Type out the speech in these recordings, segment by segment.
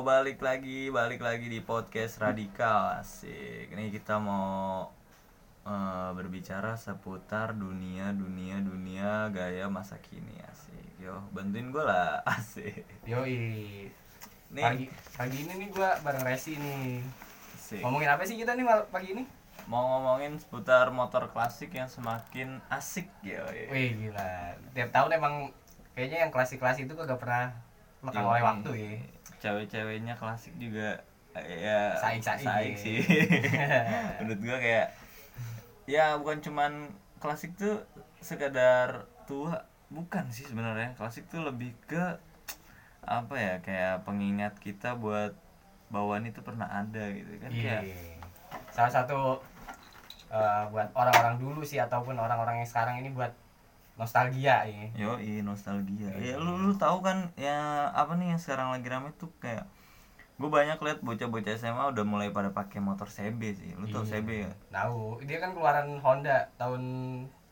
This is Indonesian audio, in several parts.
balik lagi balik lagi di podcast radikal asik ini kita mau eh, berbicara seputar dunia dunia dunia gaya masa kini asik yo bantuin gue lah asik Yoi. Nih. Pagi pagi ini nih gua bareng Resi nih. asik Ngomongin apa sih kita nih mal- pagi ini? mau ngomongin seputar motor klasik yang semakin asik yo Wih gila. Tiap tahun emang kayaknya yang klasik-klasik itu kagak pernah makan oleh waktu ya. Iya, cewek-ceweknya klasik juga eh, ya Saik-saik. sih menurut gua kayak ya bukan cuman klasik tuh sekadar tua bukan sih sebenarnya klasik tuh lebih ke apa ya kayak pengingat kita buat bawaan itu pernah ada gitu kan Iya. kayak Salah satu eh, buat orang-orang dulu sih ataupun orang-orang yang sekarang ini buat nostalgia ya. yo Iya, nostalgia ya lu lu tahu kan ya apa nih yang sekarang lagi rame tuh kayak gue banyak liat bocah-bocah SMA udah mulai pada pakai motor CB sih lu tau Iya. CB ya Tahu, dia kan keluaran Honda tahun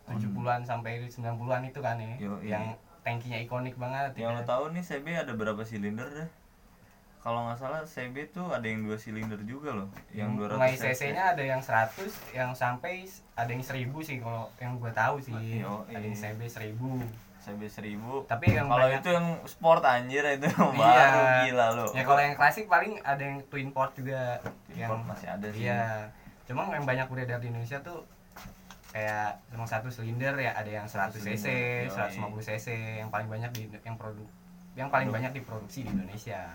70-an sampai 90-an itu kan ya. Yoi. Yang tangkinya ikonik banget. ya Yang lo tahu nih CB ada berapa silinder deh? Kalau nggak salah CB tuh ada yang dua silinder juga loh, yang 200 Hmm, mulai cc-nya ada yang 100 yang sampai s- ada yang 1000 sih kalau yang gua tahu sih Yo, ada yang iya. CB 1000 CB 1000. Tapi yang kalau banyak- Iya. itu yang sport anjir itu yang baru gila lo. ya kalau yang klasik paling ada yang twin port juga Twin yang port masih ada sih. iya cuma yang banyak beredar di Indonesia tuh kayak cuma satu silinder ya ada yang 100 cc Silinder, iya. yoi. 150 cc yang paling banyak di yang produk yang paling banyak diproduksi di Indonesia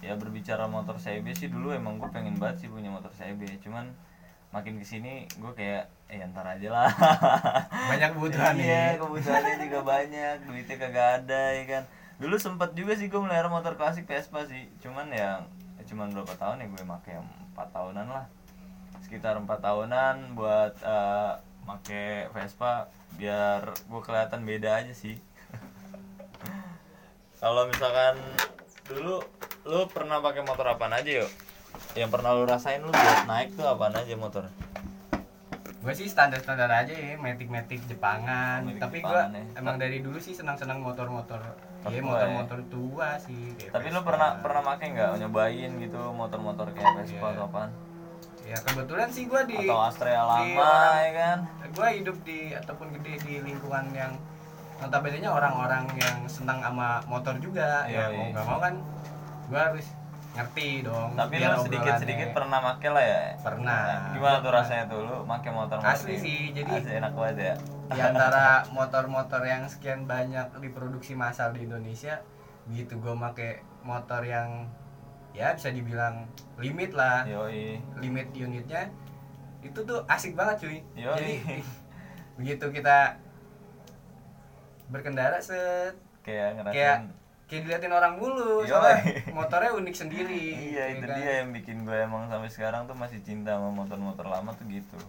Ya berbicara motor CB sih dulu emang gue pengen banget sih punya motor CB, cuman makin kesini gue kayak eh ntar aja lah. banyak kebutuhan iya, nih kebutuhannya juga banyak, duitnya kagak ada ya kan. Dulu sempet juga sih gue melihara motor klasik Vespa sih, cuman ya cuman berapa tahun ya gue pakai empat tahunan lah, sekitar empat tahunan buat eh make Vespa biar gue kelihatan beda aja sih. Kalau misalkan dulu lu pernah pakai motor apaan aja yuk? Yang pernah lu rasain lu buat naik tuh apaan aja motor? gue sih standar standar aja ya metik metik Jepangan Matic tapi gue Jepangan ya. emang dari dulu sih senang senang motor motor Tapi iya tua motor ya. motor tua sih kayak Tapi lu Vespa. pernah pernah pakai nggak nyobain gitu motor-motor kayak Vespa Iya. atau apaan? ya kebetulan sih gue di Atau Astrea di lama orang- ya kan? gue hidup di ataupun gede di lingkungan yang notabene nya orang-orang yang senang sama motor juga ya Yoi. mau nggak mau kan gue harus ngerti dong Tapi biar lu sedikit-sedikit Iya, obrolannya. pernah make lah ya? Pernah. Gimana tuh rasanya tuh lu make motor Asli motor sih, ini? jadi- gitu. Asli enak banget ya. di antara motor-motor yang sekian banyak diproduksi massal di Indonesia gitu gue make motor yang ya bisa dibilang limit lah Iya. Yoi. limit unitnya itu tuh asik banget cuy Yoi. jadi begitu kita berkendara set Kayak ngerasain kayak kayak diliatin orang mulu Yoi. soalnya motornya unik sendiri Iya ya itu kan? dia yang bikin gue emang sampai sekarang tuh masih cinta sama motor-motor lama tuh gitu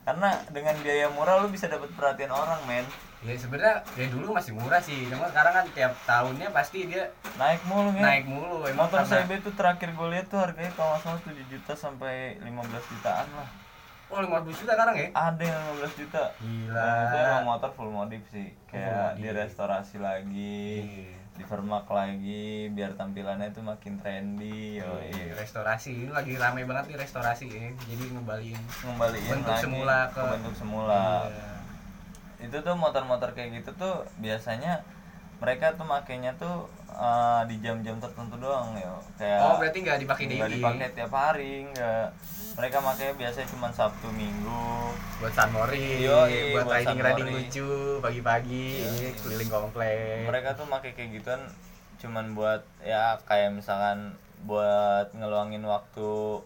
Karena dengan biaya murah lu bisa dapat perhatian orang men ya sebenarnya ya dulu masih murah sih cuma sekarang kan tiap tahunnya pasti dia Naik mulu men naik mulu emang Iya. Motor karena- CB tuh terakhir gue lihat tuh harganya kalau nggak salah 7 juta sampai 15 jutaan lah. oh 50 juta sekarang ya Ada yang 15 juta. Gila. Nah, itu emang motor full modif sih. Kayak modif. direstorasi lagi, Iya. difermak lagi biar tampilannya tuh makin trendy. Yo, Iya, restorasi ini lagi ramai banget nih restorasi ya jadi ngembaliin Ngembaliin Bentuk lagi semula ke- bentuk semula. Iya. Itu tuh motor-motor kayak gitu tuh biasanya mereka tuh makainya tuh eh, di jam-jam tertentu doang yo. Kayak oh berarti nggak dipakai daily nggak dipakai tiap hari nggak mereka makanya biasanya cuma sabtu minggu buat San Mori Yoi, buat buat riding San riding Mori. lucu pagi-pagi iya, keliling komplek mereka tuh pakai kayak gituan cuman buat ya kayak misalkan buat ngeluangin waktu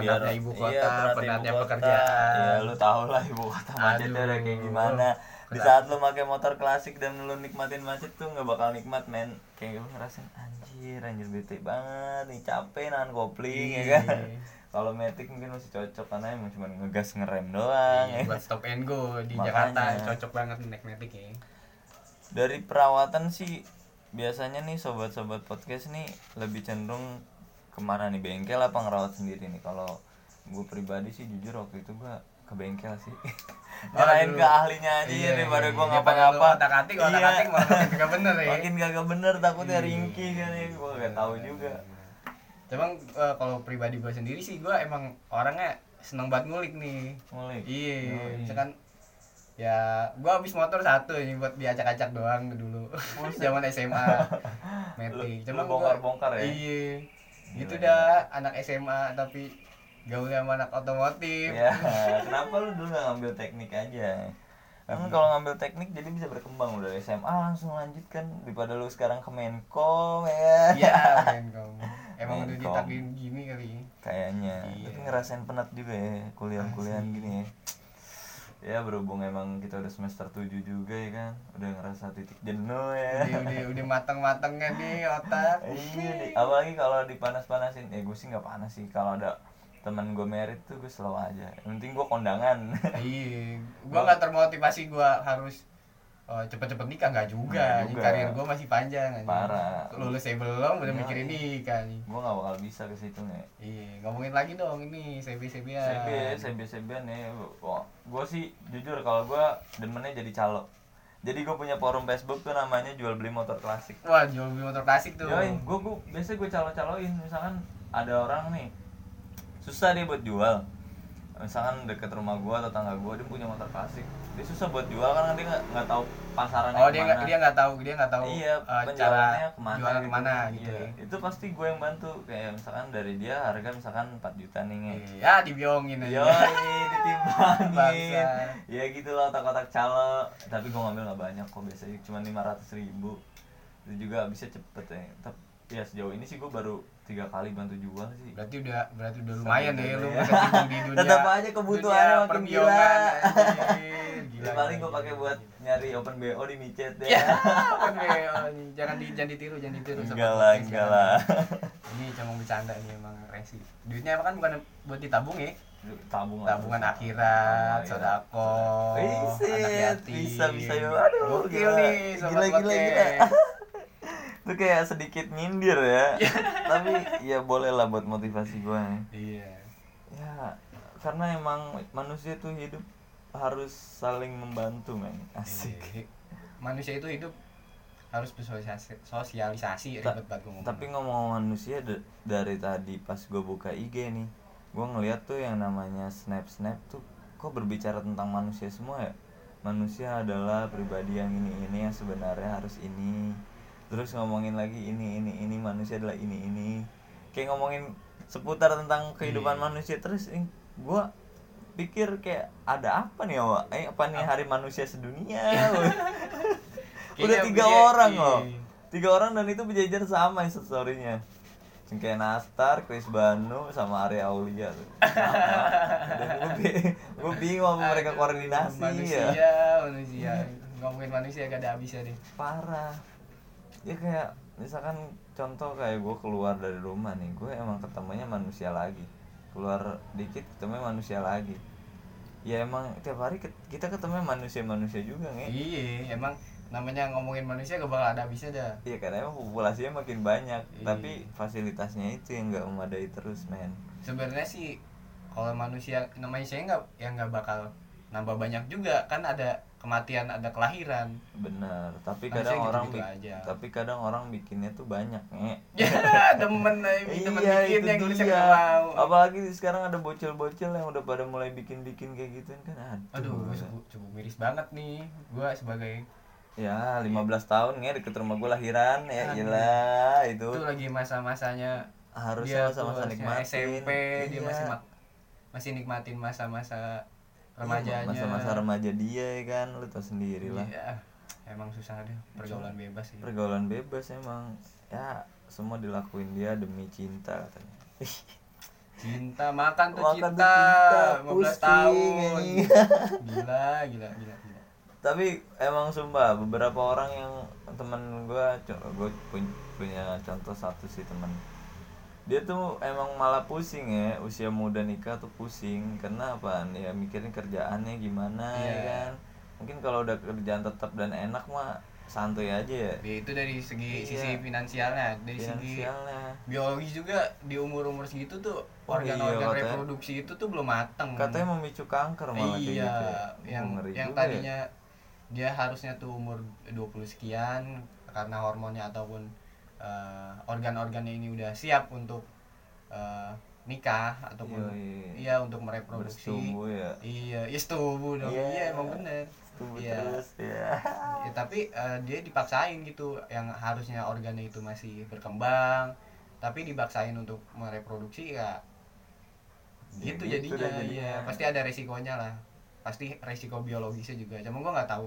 iya, Penatnya ibu kota, penatnya penatnya ibu kota. pekerjaan. Iya, lu tau lah ibu kota macetnya udah kayak Aduh. gimana. Di saat lu pakai motor klasik dan lu nikmatin macet tuh nggak bakal nikmat, men. Kayak gue ngerasain anjir, anjir bete banget, nih capek nahan kopling ya kan. Iya. Kalau Matic mungkin masih cocok karena emang cuma ngegas ngerem doang. ya. buat stop and go di Makanya. Jakarta cocok banget naik Matic ya dari perawatan sih biasanya nih sobat-sobat podcast nih lebih cenderung kemana nih bengkel apa ngerawat sendiri nih kalau gue pribadi sih jujur waktu itu gue ke bengkel sih nyerahin Aduh. ke ahlinya aja ya Iya, daripada iya. gue Daripada lu ngapa-ngapa Iya. otak-atik, otak-atik malah makin kagak kan bener ya. ya. Iya. makin kagak bener takutnya ringkih kan ya gue gak tahu juga Cuman eh, kalau pribadi gue sendiri sih gue emang orangnya seneng banget ngulik nih. Mulai. Iya, Eh, Yoi. misalkan ya gua habis motor satu ini buat diacak-acak doang dulu. Zaman SMA. Metik. Lu- Cuma lu bongkar-bongkar ya? Iya. Gitu Gila, dah anak SMA tapi gaulnya sama anak otomotif. Ya, kenapa lu dulu nggak ngambil teknik aja? Hmm. Kan kalau ngambil teknik jadi bisa berkembang udah SMA langsung lanjutkan daripada lu sekarang ke Menkom ya. Iya, men kamu. Emang udah Menkom. ditakdirin gini kali. Kayaknya. Iya. Tapi ngerasain penat juga ya kuliah-kuliahan Asli. gini ya. Ya berhubung emang kita udah semester 7 juga ya kan. Udah ngerasa titik jenuh ya. Udah udah udah matang-matangnya nih otak. Iya, di- apalagi kalau dipanas-panasin, ya gue sih nggak panas sih. Kalau ada teman gue merit tuh gue slow aja. Yang penting gue kondangan. Iya, gua nggak termotivasi gua harus oh, cepet-cepet nikah nggak juga. Nggak juga. Karir gua masih panjang. anjing. Parah. Lulus saya belum udah Iya. mikirin nikah nih. gue nggak bakal bisa ke situ nih. Iya, ngomongin lagi dong ini CB CB ya. CB, CB, CB nih. Gue sih jujur kalau gue demennya jadi calo. Jadi gue punya forum Facebook tuh namanya jual beli motor klasik. Wah, jual beli motor klasik tuh. Yoi, gue gue biasa gue calo-caloin misalkan ada orang nih susah dia buat jual. Misalkan deket rumah gue atau tangga gue dia punya motor klasik. Dia susah buat jual karena dia nggak nggak tahu pasarannya Oh, dia nggak kemana. dia nggak tahu, dia nggak tahu iya, eh, penjualannya kemana, jualan kemana gitu. Iya, Itu pasti gue yang bantu kayak misalkan dari dia harga misalkan 4 juta nih. Nge. Iya, ya dibiongin aja. Yoi, ditimbangin Bangsa. Ya gitu loh, kotak-kotak calo Tapi gue ngambil gak banyak kok, biasanya cuma 500 ribu Itu juga bisa cepet ya Tapi ya sejauh ini sih gue baru tiga kali bantu jual sih Berarti udah berarti udah lumayan Sampai deh lu dulu ya. berkecimpung di dunia. Tetap aja kebutuhannya dunia makin gila. perbiongan, anjing. Gila, Ya paling gila, gue pakai gila, buat gila. nyari open BO di micet Ya, ya bukan Leo nih. jangan di jangan ditiru, jangan ditiru. sobat Enggak lah, podcast, enggak jangan. lah Ini cuma bercanda nih emang resi. Duitnya apa kan bukan buat ditabung ya? Tabung lah Tabungan akhirat, Tabungan akhirat. sodako, anak Riset, yatim. Iya, bisa bisa ya. Aduh, Gokil nih, sobat gila gila gila. podcast. Itu kayak sedikit nyindir ya. Tapi ya boleh lah buat motivasi gue nih. Iya. Ya, karena emang manusia tuh hidup harus saling membantu, men. Asik. Iya. Manusia itu hidup harus bersosialisasi, Ta- sosialisasi Iya, ribet banget gua ngomong. Tapi ngomong manusia d- dari tadi pas gue buka IG nih, gue ngeliat tuh yang namanya snap snap tuh kok berbicara tentang manusia semua ya. Manusia adalah pribadi yang ini ini yang sebenarnya harus ini. Terus ngomongin lagi ini ini ini manusia adalah ini ini. Kayak ngomongin seputar tentang kehidupan Iya. manusia terus gue pikir kayak ada apa nih Wak? Eh, apa nih hari manusia sedunia? udah Kayaknya tiga punya- orang iya. loh tiga orang dan itu berjajar sama instastorynya Cengkeh Nastar, Chris Banu, sama Arya Aulia tuh. Sama. Gue bingung sama mereka Aduh, koordinasi manusia, ya. manusia. Ngomongin manusia gak ada habisnya deh. Parah. Ya kayak misalkan contoh kayak gue keluar dari rumah nih, gue emang ketemunya manusia lagi. Keluar dikit ketemu manusia lagi. Ya emang tiap hari ket- kita ketemu manusia-manusia juga nge. Iya, emang namanya ngomongin manusia gak bakal ada habisnya dah. Iya karena emang populasinya makin banyak, Iya. tapi fasilitasnya itu yang nggak memadai terus men. Sebenarnya sih kalau manusia namanya saya nggak ya nggak bakal nambah banyak juga kan ada kematian ada kelahiran. Bener, tapi Harusnya kadang gitu-gitu orang bik- aja. tapi kadang orang bikinnya tuh banyak nih. Ya, demen eh, Iya, demen bikin yang nulisnya nggak mau. Apalagi sekarang ada bocil-bocil yang udah pada mulai bikin-bikin kayak gituan kan. Aduh, gue cukup, cukup miris banget nih. Gue sebagai Ya, 15 tahun ya deket rumah gue lahiran ya iyalah itu. itu lagi masa-masanya Harusnya tuh masa-masa harusnya nikmatin. SMP dia Iya. masih mak- masih nikmatin masa-masa Iya, remajanya. Masa-masa remaja dia ya kan, lu tau sendiri lah. Iya, emang susah deh pergaulan bebas sih. pergaulan bebas emang ya semua dilakuin dia demi cinta katanya Ih, Cinta makan tuh Makan tuh cinta, cinta, 15 pusing, tahun. anjing. Gila, gila, gila, gila. tapi emang sumpah beberapa orang yang temen gue gue punya contoh satu sih temen dia tuh emang malah pusing ya usia muda nikah tuh pusing karena apa ya mikirin kerjaannya gimana ya Iya. kan mungkin kalau udah kerjaan tetap dan enak mah santuy aja ya Ya, itu dari Iya. segi sisi finansialnya, dari segi finansialnya biologis juga di umur-umur segitu tuh Oh, iya, organ-organ katanya. reproduksi itu tuh belum mateng. katanya memicu kanker malah kayak Hmm. iya, gitu ya. yang Ngeri yang juga ya. tadinya dia harusnya tuh umur 20 sekian karena hormonnya ataupun eh, organ-organnya ini udah siap untuk eh, nikah ataupun Iya, iya, iya. iya untuk mereproduksi Bersetubuh ya. iya iya setubuh dong Iya. iya emang bener Setubuh Iya. terus ya. Ya, tapi eh, dia dipaksain gitu yang harusnya organnya itu masih berkembang tapi dipaksain untuk mereproduksi ya Ya, gitu gitu jadinya deh jadinya. iya pasti ada resikonya lah pasti resiko biologisnya juga cuma gua nggak tahu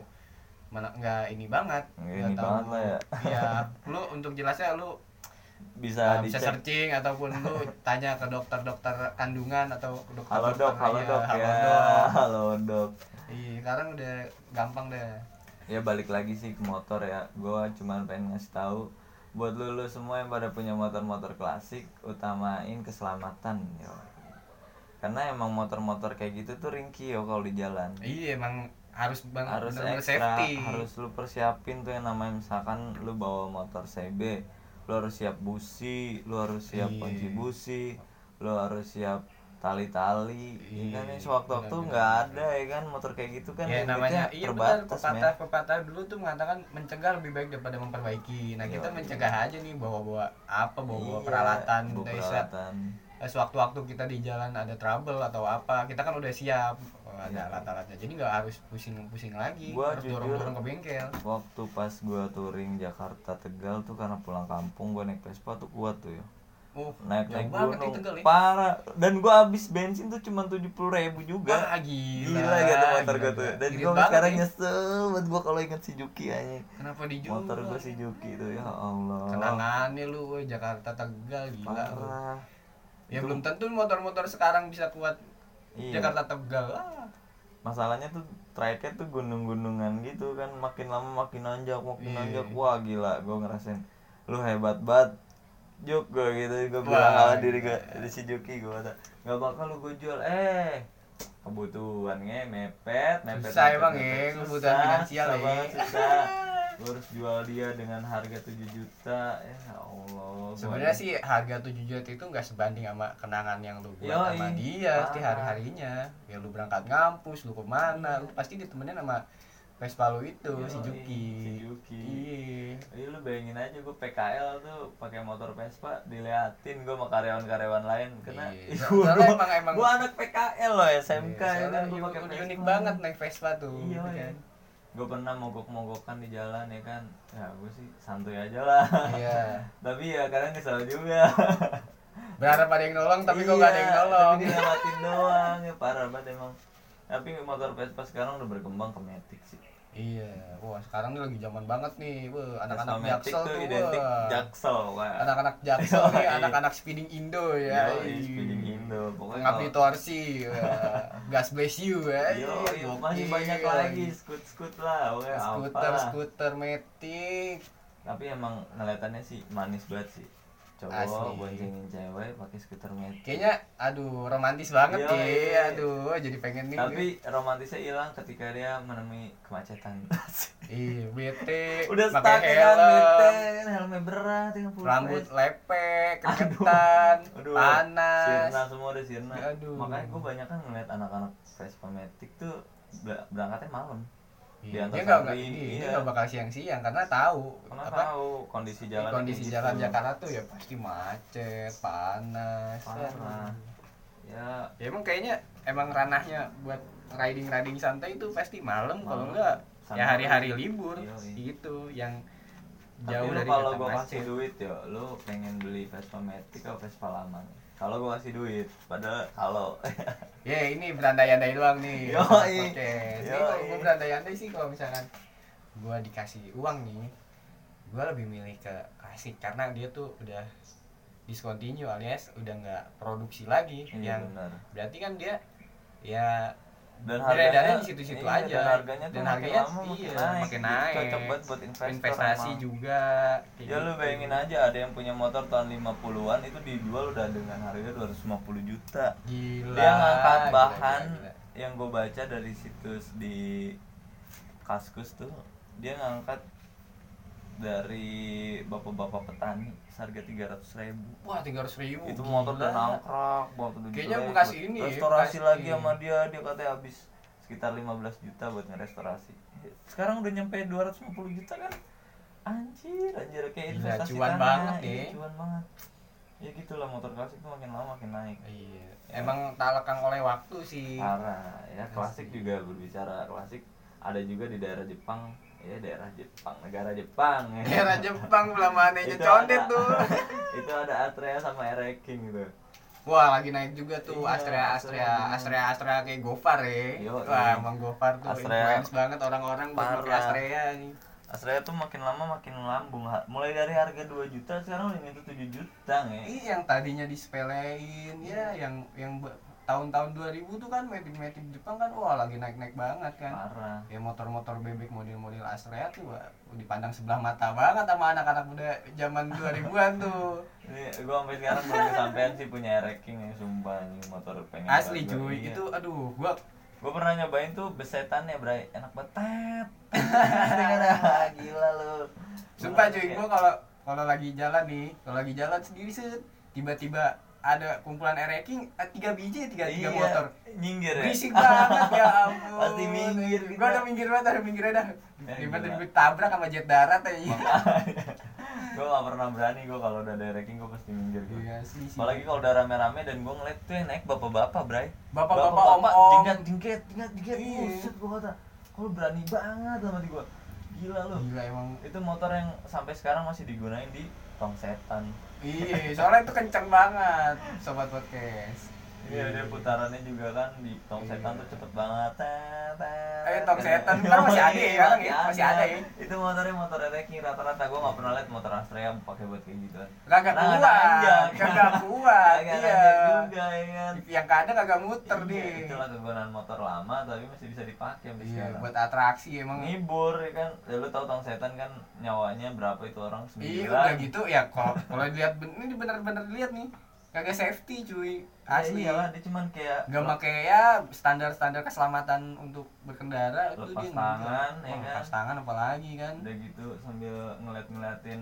mana nggak ini banget Nggak ini banget lah ya. ya lu untuk jelasnya lu Bisa uh, bisa dicek. searching ataupun lu tanya ke dokter-dokter kandungan atau dokter Halo dok, halo dok ya. Halo dok. Iya, sekarang udah gampang deh. Ya balik lagi sih ke motor ya. Gua cuman pengen ngasih tahu buat lu, lu semua yang pada punya motor-motor klasik utamain keselamatan yo. Karena emang motor-motor kayak gitu tuh ringkih yo kalau di jalan. Iya, emang harus banget harus bener-bener ekstra harus lu persiapin tuh yang namanya misalkan lu bawa motor CB lu harus siap busi lu harus siap Iya. kunci busi lu harus siap tali-tali ya kan Iya, ya sewaktu-waktu benar, nggak ada ya kan motor kayak gitu kan ya limitnya namanya iya benar terbatas pepatah men. pepatah dulu tuh mengatakan mencegah lebih baik daripada memperbaiki nah kita Iya. mencegah aja nih bawa-bawa apa bawa-bawa Iya, peralatan bawa dari saat- peralatan eh, sewaktu-waktu kita di jalan ada trouble atau apa kita kan udah siap oh, ada alat-alatnya jadi nggak harus pusing-pusing Iya. lagi Gua harus jujur- dorong-dorong ke bengkel waktu pas gua touring Jakarta Tegal tuh karena pulang kampung gua naik Vespa tuh kuat tuh ya uh naik naik jauh banget gunung itu Tegal ya parah dan gua habis bensin tuh cuma tujuh ribu juga Wah, gila, gila, gitu motor gila, gue tuh gila. dan Irit gue banget sekarang nih. nyesel buat gue kalau inget si Juki aja kenapa dijual motor gue si Juki tuh ya Allah kenangannya lu woy, Jakarta Tegal gila lu. parah ya belum tentu motor-motor sekarang bisa kuat Iya. Jakarta Tegal ah. masalahnya tuh trike tuh gunung-gunungan gitu kan makin lama makin nanjak makin Iya. nanjak wah gila gue ngerasain lu hebat banget Juk gue gitu gue bilang Wah, iya. sama diri gue dari si Juki gue kata nggak bakal lu gue jual eh kebutuhannya mepet mepet Susah mepet, emang, mepet. ya, kebutuhan Susah, finansial, susah ya. banget, susah gue harus jual dia dengan harga 7 juta ya Allah gua sebenarnya ini- sih harga 7 juta itu nggak sebanding sama kenangan yang lu buat Yoi. sama dia Parah. setiap hari harinya ya lu berangkat ngampus lu kemana lu pasti ditemenin sama Vespa lu itu si Yoi, Juki si Juki. iya Iya lu bayangin aja gue PKL tuh pakai motor Vespa diliatin gue sama karyawan-karyawan lain karena Iya. Ih, Soalnya gua- emang- emang- gua anak PKL loh SMK Iya, ya kan soalnya gue pakai unik- Vespa. unik banget naik Vespa tuh Iya gitu ya. kan. Gue pernah mogok-mogokan di jalan ya kan. Ya gue sih santuy aja lah. iya Tapi ya kadang kesel juga. berharap ada yang nolong tapi Iya, kok gak ada yang nolong Tapi dilewatin doang ya parah banget emang. Tapi motor Vespa sekarang udah berkembang ke Matic sih. iya wah sekarang ini lagi zaman banget nih Wah, Vespa anak-anak Matic jaksel tuh tuh identik wah. Jaksel. wah. anak-anak jaksel nih Yoi. anak-anak speeding indo ya Yoi, speeding Indo. Pokoknya ngap kalau- torsi gas bless you ya Yo, yo, Iya, masih banyak lagi Eh, skut-skut lah, oke skuter apa. skuter metik Tapi emang ngeliatannya sih manis banget sih. Asli. Cowok boncengin cewek pakai skuter metik. kayaknya aduh romantis banget Yoi. ya aduh jadi pengen nih Tapi romantisnya hilang ketika dia menemui kemacetan. ih Iya, bete Udah pakai stuck ya kan, helm beten, helmnya berat, 30 rambut PS. lepek keketan panas Sirna semua udah sirna. Aduh. Makanya gue banyak kan ngeliat anak-anak Vespa Matic tuh bela- berangkatnya malam. Iya, Di dia atas nggak nggak- samping, iya, dia iya. nggak bakal siang-siang karena tahu Karena apa tahu kondisi di jalan kondisi kayak jalan gitu. Jakarta tuh ya pasti macet panas parah. Ya ya emang kayaknya emang ranahnya buat riding riding santai itu pasti malam Malam. kalau enggak ya Santai. hari-hari libur Yoi. gitu yang Tapi jauh lu dari kalau kata gue macet. kasih duit yo, lu pengen beli Vespa Matic atau Vespa lama? nih? Kalau gue kasih duit, padahal kalau ya ini berandai-andai doang nih Yoi. oke Yoi. ini kalau gue berandai-andai sih kalau misalkan gue dikasih uang nih gue lebih milih ke klasik karena dia tuh udah discontinue alias udah nggak produksi lagi iya yang benar. berarti kan dia ya Dan beredarnya di situ-situ iya, aja. Dan harganya tuh Dan makin harganya, lama makin iya, naik. makin Jadi naik. Cocok banget buat investor. investasi emang. juga kayak Ya lu gitu. bayangin aja ada yang punya motor tahun 50-an itu dijual udah dengan harga 250 juta. gila Dia ngangkat gila, bahan gila, gila. yang gue baca dari situs di Kaskus tuh dia ngangkat dari bapak-bapak petani harga 300 ribu wah tiga ratus ribu itu motor udah gila. nangkrak banget udah Kayaknya jelek, gua kasih buat ini, restorasi kasih. lagi sama dia dia katanya habis sekitar 15 juta buat ngerestorasi sekarang udah nyampe 250 juta kan anjir anjir kayak Gila, investasi cuan tanah, banget iya, nih. cuan banget ya gitulah motor klasik tuh makin lama makin naik Iya. Ya. Emang tak lekang oleh waktu sih. parah Iya ya klasik Pasti. juga berbicara klasik ada juga di daerah Jepang ya daerah Jepang negara Jepang ya. Era Jepang pelamahannya Itu condet ada- tuh. itu ada Atrea sama Ereking gitu Wah, lagi naik juga tuh Iya, Astrea Astrea Astrea. Astrea Astrea kayak Gofar ya. Yo, Wah, iya. emang Gofar tuh Astrea. influence banget orang-orang buat pakai Parah. Astrea nih. Astrea tuh makin lama makin melambung Ha- mulai dari harga 2 juta sekarang udah nyentuh 7 juta nge Ih, Iya, yang tadinya disepelein ya, yang yang be- tahun-tahun 2000 tuh kan metik-metik Jepang kan wah lagi naik-naik banget kan. parah ya motor-motor bebek model-model Astrea tuh wah, dipandang sebelah mata banget sama anak-anak muda zaman 2000-an tuh. ini gua sampai sekarang belum kesampean sih punya Ereking yang sumpah ini motor pengen Asli banget gua. cuy, Iya. itu aduh gua Gue pernah nyobain tuh besetannya bray, enak banget. Tet. Dengar ah, gila lu. sumpah Beneran cuy kayak- gua kalau kalau lagi jalan nih, kalau lagi jalan sendiri set, tiba-tiba ada kumpulan ereking eh, tiga biji tiga Iya, tiga motor Nyinggir ya. berisik banget ya ampun ya. Pasti minggir gitu. kita. gua udah minggir banget udah minggir dah Ya, daripada gila. gue tabrak sama jet darat ya. Iya aja gue gak pernah berani gue kalau udah ada ranking gue pasti minggir gitu. Iya, asli sih. Apalagi kalau udah rame-rame dan gue ngeliat tuh yang naik bapak-bapak bray. Bapak-bapak, om-om. tingkat tingkat tingkat tingkat. Iya. Buset gue kata, kalau berani banget sama di gue. Gila lu. gila emang Itu motor yang sampai sekarang masih digunain di tong setan. Iya, soalnya itu kenceng banget, sobat podcast. Iya, dia putarannya juga kan di tong Iya. setan tuh cepet banget. Eh, tong setan, kan masih ada ya, sekarang ya? Masih ada ya? Iya, Itu motornya motor ranking rata-rata gua nggak pernah lihat motor Astrea pakai buat kayak gitu. Kagak Nah, kuat, nanjak. kagak kuat, Kagak iya. nanjak juga ya kan. Yang kadang kagak muter Iya, deh. Itulah kegunaan motor lama tapi masih bisa dipakai sampai Iya, sekarang. buat atraksi emang. Ngibur ya kan. Ya, lu tahu tong setan kan nyawanya berapa itu orang Iya, sembilan. udah gitu ya kalau kalau dilihat ben- ini bener-bener lihat nih, kagak safety cuy. Asli. Ya, iyalah, dia cuman kayak Gak pakai ya standar-standar keselamatan untuk berkendara itu Lepas dia tangan, ya nggak. Wah, kan? lepas tangan apalagi kan udah gitu sambil ngeliat-ngeliatin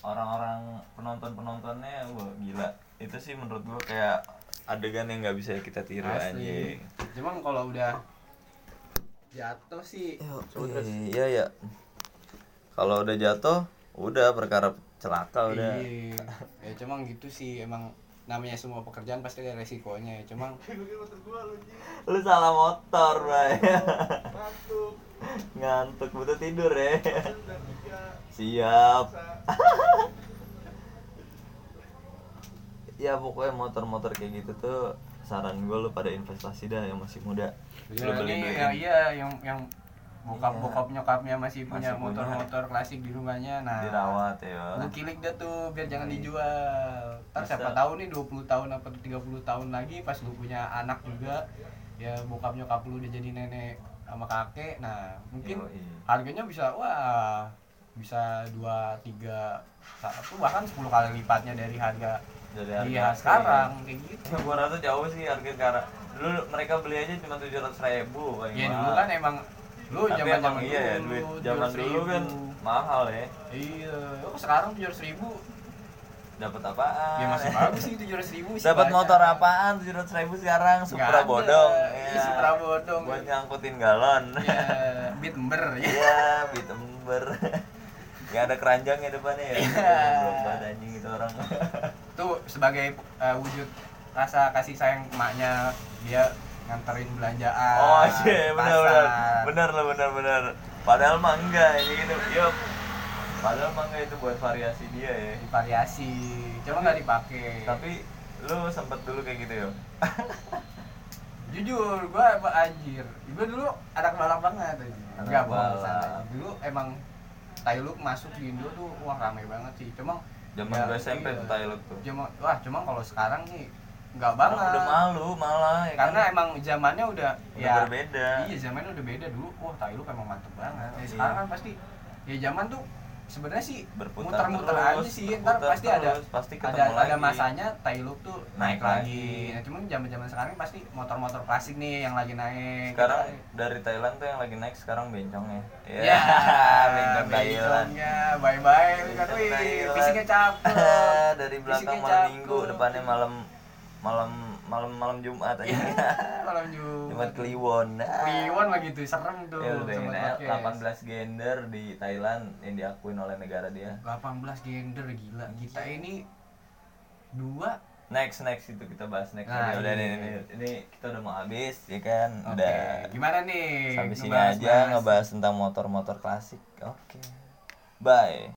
orang-orang penonton-penontonnya wah gila itu sih menurut gua kayak adegan yang nggak bisa kita tiru gitu asli anjing cuman kalau udah jatuh sih iya ya kalau udah jatuh udah perkara celaka Oh, udah Iya. Ya cuman gitu sih emang namanya semua pekerjaan pasti ada resikonya ya. Cuman lu salah motor bray ngantuk butuh tidur ya siap ya pokoknya motor-motor kayak gitu tuh saran gue lu pada investasi dah yang masih muda ya, lu beli ini beli yang iya yang yang bokap bokap nyokapnya masih punya Masih punya. motor-motor klasik di rumahnya. Nah, dirawat ya lu kilik dah tuh biar jangan dijual. Ntar Bisa. siapa tahu nih 20 tahun apa 30 tahun lagi pas lu punya anak juga ya bokap nyokap lu udah jadi nenek sama kakek. Nah, mungkin Yoi. harganya bisa wah bisa dua tiga satu bahkan 10 kali lipatnya dari harga dari iya sekarang kayak gitu ya. gua rasa jauh sih harga sekarang dulu mereka beli aja cuma tujuh ratus ribu paling ya mahal. dulu kan emang lu tapi zaman emang iya ya duit zaman dulu kan mahal ya iya kok sekarang tujuh ratus ribu dapat apaan ya masih bagus sih tujuh ratus ribu sih Ah. dapat banyak. motor apaan tujuh ratus ribu sekarang Nggak supra ada. bodong iya supra bodong buat nyangkutin galon ya bit ember ya Iya, bit ember. Gak ada keranjangnya depannya ya. Iya. Belum ada anjing itu orang. tuh sebagai eh, wujud rasa kasih sayang emaknya dia nganterin belanjaan oh iya, benar benar. Ah, pasar. Benar lah, benar benar. Padahal mah enggak ini gitu. Yup. Padahal mah enggak itu buat variasi dia ya. Iya. variasi cuma nggak dipakai Tapi lu sempet dulu kayak gitu ya. jujur gua apa anjir gua dulu anak balap banget anjir Anak enggak bohong balap. bercanda. dulu emang Tailuk masuk di Indo tuh wah rame banget sih cuma Zaman ya, gue SMP iya. tuh Thailand tuh. cuma wah cuma kalau sekarang nih enggak Orang banget udah malu malah ya Iya, karena kan? emang zamannya udah udah ya berbeda. iya zamannya udah beda dulu wah Tailuk emang mantep banget ya, Iya. sekarang kan pasti ya zaman tuh sebenarnya sih Berputar muter-muter terus, aja sih ntar berputar pasti ada terus, pasti ada ketemu ada lagi. masanya Tailuk tuh naik, Naik lagi. lagi. Nah, cuman zaman-zaman sekarang pasti motor-motor klasik nih yang lagi naik. Iya. sekarang dari Thailand tuh yang lagi naik sekarang bencong ya. ya, Iya, bencong Thailand. Bye-bye, lu kan Bencong wih, Thailand. fisiknya cakep. dari Fisiknya belakang malam cakep. minggu depannya malam malam malam malam Jumat aja. Iya, Malam Jumat. Jumat Kliwon. Ah. Ya. Kliwon mah gitu, serem tuh. Ya, udah sobat ini podcast. ya, 18 gender di Thailand yang diakuin oleh negara dia. 18 gender gila. Kita ini dua next next itu kita bahas next Nah, aja. udah iya. ini, ini, ini kita udah mau habis ya kan oke udah gimana nih sampai sini Ngebahas- aja bahas. ngebahas tentang motor-motor klasik oke bye